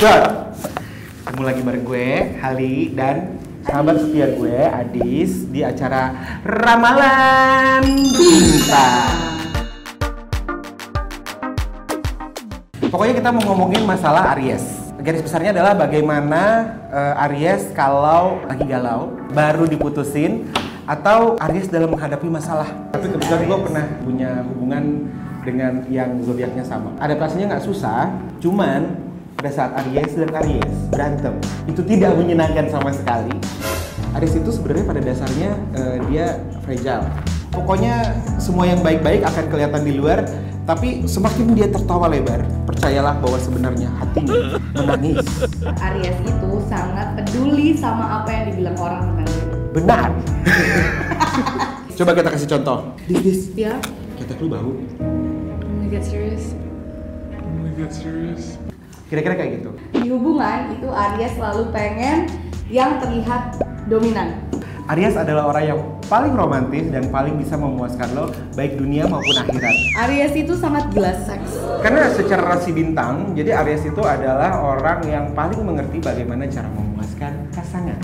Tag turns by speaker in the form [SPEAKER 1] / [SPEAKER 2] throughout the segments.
[SPEAKER 1] Dar. Ketemu lagi bareng gue, Hali dan sahabat setia gue, Adis di acara Ramalan Bintang. Pokoknya kita mau ngomongin masalah Aries. Garis besarnya adalah bagaimana eh, Aries kalau lagi galau, baru diputusin, atau Aries dalam menghadapi masalah. Tapi kebetulan gue pernah punya hubungan dengan yang zodiaknya sama. Adaptasinya nggak susah, cuman pada saat Aries dan Aries berantem, itu tidak menyenangkan sama sekali. Aries itu sebenarnya pada dasarnya eh, dia fragile. Pokoknya semua yang baik-baik akan kelihatan di luar, tapi semakin dia tertawa lebar, percayalah bahwa sebenarnya hatinya menangis.
[SPEAKER 2] Aries itu sangat peduli sama apa yang dibilang orang tentang dia.
[SPEAKER 1] Benar. Coba kita kasih contoh. Dis, dis,
[SPEAKER 3] Ya,
[SPEAKER 2] Dia
[SPEAKER 1] kita lu bau.
[SPEAKER 2] get serious.
[SPEAKER 1] Kira-kira kayak gitu.
[SPEAKER 2] Di hubungan itu Aries selalu pengen yang terlihat dominan.
[SPEAKER 1] Aries adalah orang yang paling romantis dan paling bisa memuaskan lo baik dunia maupun akhirat.
[SPEAKER 2] Aries itu sangat jelas seks.
[SPEAKER 1] Karena secara rasi bintang, jadi Aries itu adalah orang yang paling mengerti bagaimana cara memuaskan pasangan.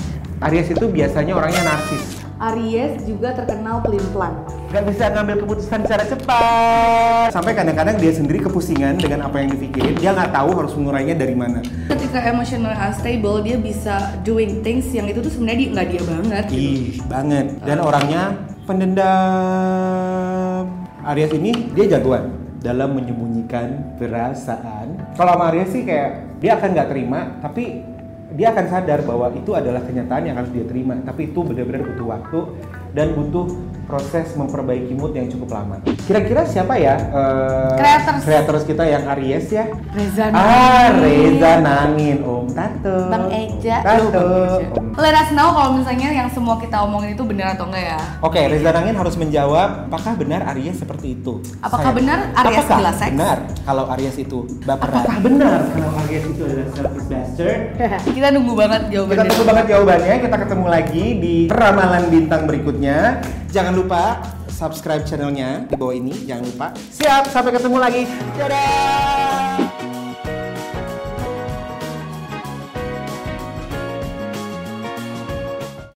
[SPEAKER 1] Aries itu biasanya orangnya narsis.
[SPEAKER 2] Aries juga terkenal pelin-pelan.
[SPEAKER 1] nggak bisa ngambil keputusan secara cepat sampai kadang-kadang dia sendiri kepusingan dengan apa yang dipikirin dia nggak tahu harus mengurainya dari mana
[SPEAKER 3] ketika emotional unstable dia bisa doing things yang itu tuh sebenarnya dia- nggak dia banget gitu.
[SPEAKER 1] ih banget dan
[SPEAKER 2] Ah.
[SPEAKER 1] orangnya pendendam Aries ini dia jagoan dalam menyembunyikan perasaan kalau sama Aries sih kayak dia akan nggak terima tapi dia akan sadar bahwa itu adalah kenyataan yang harus dia terima tapi itu benar-benar butuh waktu dan butuh proses memperbaiki mood yang cukup lama kira-kira siapa ya eh,
[SPEAKER 2] Creators.
[SPEAKER 1] creators kita yang Aries ya
[SPEAKER 2] Reza
[SPEAKER 1] Ah,
[SPEAKER 2] Nangin.
[SPEAKER 1] Reza Nangin, Om Tato.
[SPEAKER 2] Bang Eja. Aduh,
[SPEAKER 1] Tato.
[SPEAKER 2] Bang Eja.
[SPEAKER 1] Om.
[SPEAKER 3] Let us know kalau misalnya yang semua kita omongin itu benar atau enggak ya.
[SPEAKER 1] Oke, Reza Nangin harus menjawab apakah benar Aries seperti itu?
[SPEAKER 3] Apakah
[SPEAKER 1] Sayang.
[SPEAKER 3] benar Aries
[SPEAKER 1] apakah
[SPEAKER 3] gila seks?
[SPEAKER 1] benar kalau Aries itu baperan? Eh, Apakah benar kalau Aries itu adalah selfish bastard?
[SPEAKER 3] Kita nunggu banget
[SPEAKER 1] Kita
[SPEAKER 3] jawabannya.
[SPEAKER 1] tunggu banget jawabannya. Kita ketemu lagi di ramalan bintang berikutnya. Jangan lupa subscribe channelnya di bawah ini. Jangan lupa. Siap, sampai ketemu lagi. Dadah.